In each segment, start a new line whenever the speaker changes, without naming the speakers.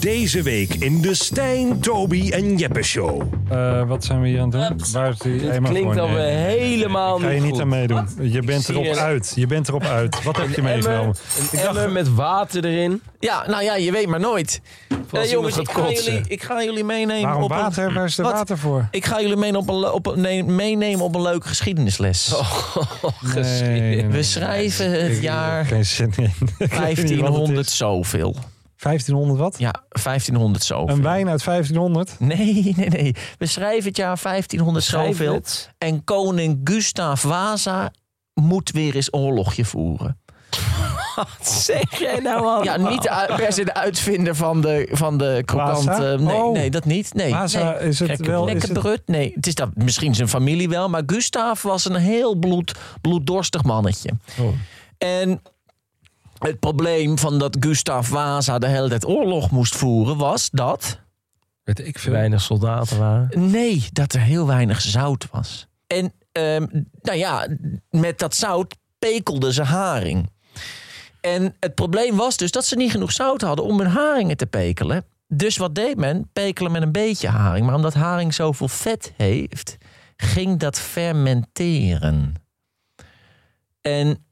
Deze week in de Stijn, Toby en Jeppe Show.
Eh, wat zijn we hier aan het doen? Waar is die
Dit
Emma
klinkt
gewoon?
alweer
Nee,
helemaal
Ga je niet
goed.
aan meedoen. Je bent
zie
erop
het.
uit. Je bent erop uit. Wat heb je
Een emmer,
meegenomen?
Een emmer met water erin.
Ja, nou ja, je weet maar nooit. Voor als
Eh,
iemand
jongens, ik
gaat
ga,
kotsen.
jullie, ik ga jullie meenemen
Waarom
op een-
water? Waar is de
Wat?
water voor?
Ik ga jullie meenemen op een, le- op een, nee, meenemen op een leuke geschiedenisles. We schrijven het
Ik-
jaar
Geen zin in. Ik weet niet wat het is.
1500 zoveel.
1500 wat?
Ja, 1500 zoveel.
Een wijn uit 1500?
Nee, nee, nee. We schrijven het jaar 1500
Schrijf
zoveel.
het.
En koning Gustav Vasa moet weer eens oorlogje voeren.
Wat zeg jij nou al?
Ja, niet de u- per se de uitvinder van de, van de krokant.
Vasa?
eh, Nee,
Oh.
nee, dat niet. Nee,
Waza,
nee.
is het
Gekke
wel... Is
Lekker
het,
brut? Nee, het is dat, misschien zijn familie wel. Maar Gustav was een heel bloed, bloeddorstig mannetje.
Oh.
En het probleem van dat Gustav Vasa de hele tijd oorlog moest voeren was dat...
Weet ik veel.
Weinig soldaten waren.
Nee, dat er heel weinig zout was. En ehm, nou ja, met dat zout pekelde ze haring. En het probleem was dus dat ze niet genoeg zout hadden om hun haringen te pekelen. Dus wat deed men? Pekelen met een beetje haring. Maar omdat haring zoveel vet heeft, ging dat fermenteren. En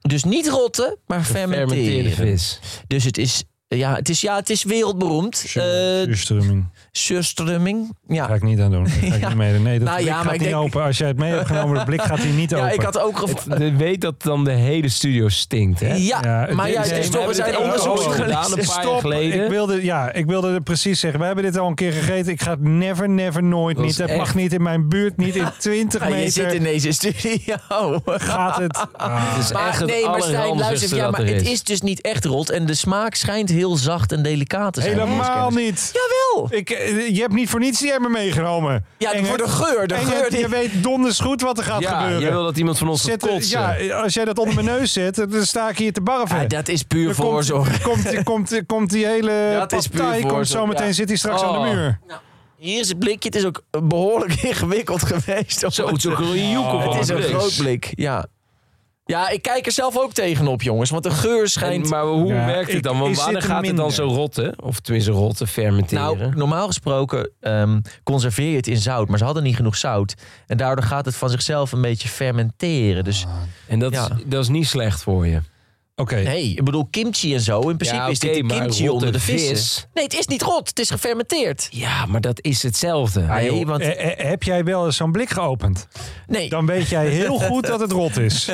dus niet rotten, maar
Fermenteerde
fermenteren.
vis.
Dus het is, ja, het is, ja, het is wereldberoemd. Eh
Zuurstrumming.
surströmming. Ja.
Daar ga ik niet aan doen. Daar ga ik
Ja.
niet mee doen. Nee, dat
Nou
blik
ja,
gaat
maar ik
niet
denk-
open. Als jij het mee hebt genomen, de blik gaat hier niet
Ja,
open.
ik had ook gev-
Het, de- weet dat dan de hele studio stinkt, hè?
Ja,
Ja, het
maar
is-
ja,
nee,
het is
we
toch, er
hebben
zijn
dit ook
onderzoeken
al
gedaan.
gedaan, een paar jaar
Stop.
geleden.
Ik wilde, ja, ik wilde het precies zeggen. We hebben dit al een keer gegeten. Ik ga het never, never, nooit
Dat
niet.
is
Het
echt-
mag niet in mijn buurt, niet in 20
Ja, je
meter.
zit in deze studio.
Gaat het... Ah.
Het is echt
Maar,
het
nee, maar Stijn,
allerranzigste
luister, ja,
dat
maar
er
het
is.
is dus niet echt rot. En de smaak schijnt heel zacht en delicaat te zijn.
Helemaal
volgens kennis.
niet.
Jawel!
Ik, eh, je hebt niet voor niets die hebben meegenomen.
Ja,
Engert.
voor de geur. De
En
geur
je,
die...
je weet donders goed wat er gaat
Ja,
gebeuren.
jij wil dat iemand van ons gaat
Zet-
kotsen.
ja, als jij dat onder mijn neus zet, dan sta ik hier te barven.
Ja, dat is puur
Er komt,
voorzorg.
er komt, er komt, er komt die hele
Dat is puur
partij, komt
voorzorg,
zo meteen
ja.
zit hij straks aan de
Oh.
muur.
Hier is het blikje. Het is ook behoorlijk ingewikkeld geweest. om
Zo,
het-
zo'n groenjoek op
Oh,
het is een
alles.
groot blik, ja. Ja, ik kijk er zelf ook tegenop, jongens. Want de geur
En-
schijnt...
maar hoe
Ja,
werkt
ik-
het dan? Want
is
wanneer
dit
gaat het dan
minder?
zo rotten? Of tenminste rotten, fermenteren?
Nou, normaal gesproken ehm, conserveer je het in zout, maar ze hadden niet genoeg zout. En daardoor gaat het van zichzelf een beetje fermenteren. Dus
en dat,
ja.
is, dat is niet slecht voor je.
Oké.
nee, ik bedoel kimchi en zo. In principe
Ja,
is dit
oké,
de
maar
kimchi onder de
rotte
vissen.
vis.
Nee, het is niet rot. Het is gefermenteerd.
Ja, maar dat is hetzelfde.
Ah, joh.
Nee,
Nee, want-
Eh, eh, heb jij wel eens zo'n blik geopend?
Nee,
Dan weet jij heel goed dat het rot is.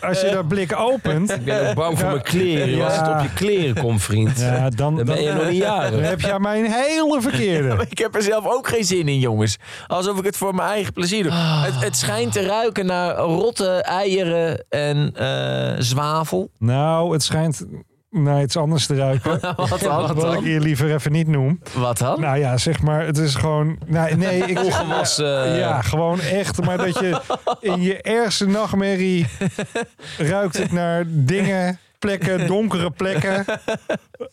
Als je dat blik opent,
ik ben ook bang voor mijn kleren.
Ja.
Als het op je kleren komt, vriend.
ja, dan,
Dan ben je nog niet
dan
jarig.
heb jij mijn hele verkeerde.
ik heb er zelf ook geen zin in, jongens. Alsof ik het voor mijn eigen plezier doe. Het, het schijnt te ruiken naar rotte eieren en eh, zwavel.
Nou, het schijnt naar iets anders te ruiken.
Wat dan?
Wat ik hier liever even niet noem.
Wat dan?
Nou ja, zeg maar, het is gewoon... Nou, nee, ik,
Ongewassen.
Ja, gewoon echt. Maar dat je in je ergste nachtmerrie ruikt het naar dingen, plekken, donkere plekken.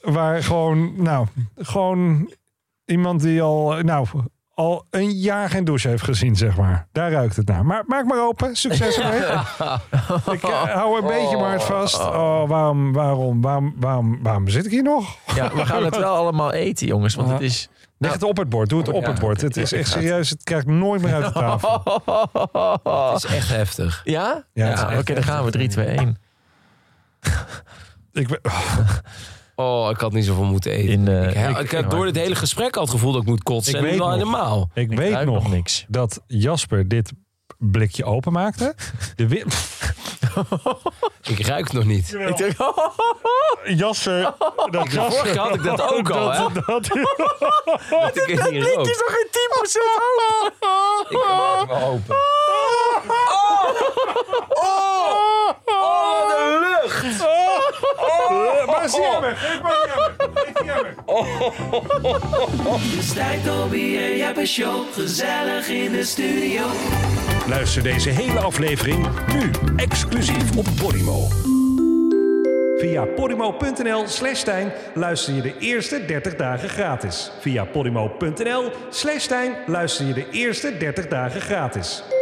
Waar gewoon, nou, gewoon iemand die al, nou, al een jaar geen douche heeft gezien, zeg maar. Daar ruikt het naar. Maar maak maar open. Succes ermee. Ik eh, hou een beetje maar het vast. Oh, waarom, waarom, waarom, waarom, waarom zit ik hier nog?
Ja, we gaan het wel allemaal eten, jongens. Want het is...
Leg het op het bord. Doe het op Nou. het bord. Het is echt serieus. Het krijgt nooit meer uit de tafel.
Dat is echt heftig.
Ja?
Ja,
Ja,
het is
oké, dan gaan we. 3, 2, 1.
Ik, ben-
Oh, ik had niet zoveel moeten eten.
In, eh,
ik, he-
ik-
ik had door dit hele gesprek al het gevoel dat ik moet kotsen.
Ik
en nu
weet
wel
nog.
helemaal.
Ik, weet
ruik
nog,
nog niks.
dat Jasper dit blikje openmaakte. De wi-
Ik ruik het nog niet.
Ik denk,
Jasper, dat
De vorige keer had Oh. ik dat ook al, hè?
dat,
Dat ik het niet rook.
nog geen 10% hoog.
Ik maak me open. Oh!
Oh!
Oh!
maar zie je hem,
Stijn, Toby en Jeppe Show. Gezellig in de studio.
Luister deze hele aflevering nu exclusief op Podimo. Via podimo.nl slash Stijn luister je de eerste 30 dagen gratis. Via podimo.nl slash Stijn luister je de eerste 30 dagen gratis.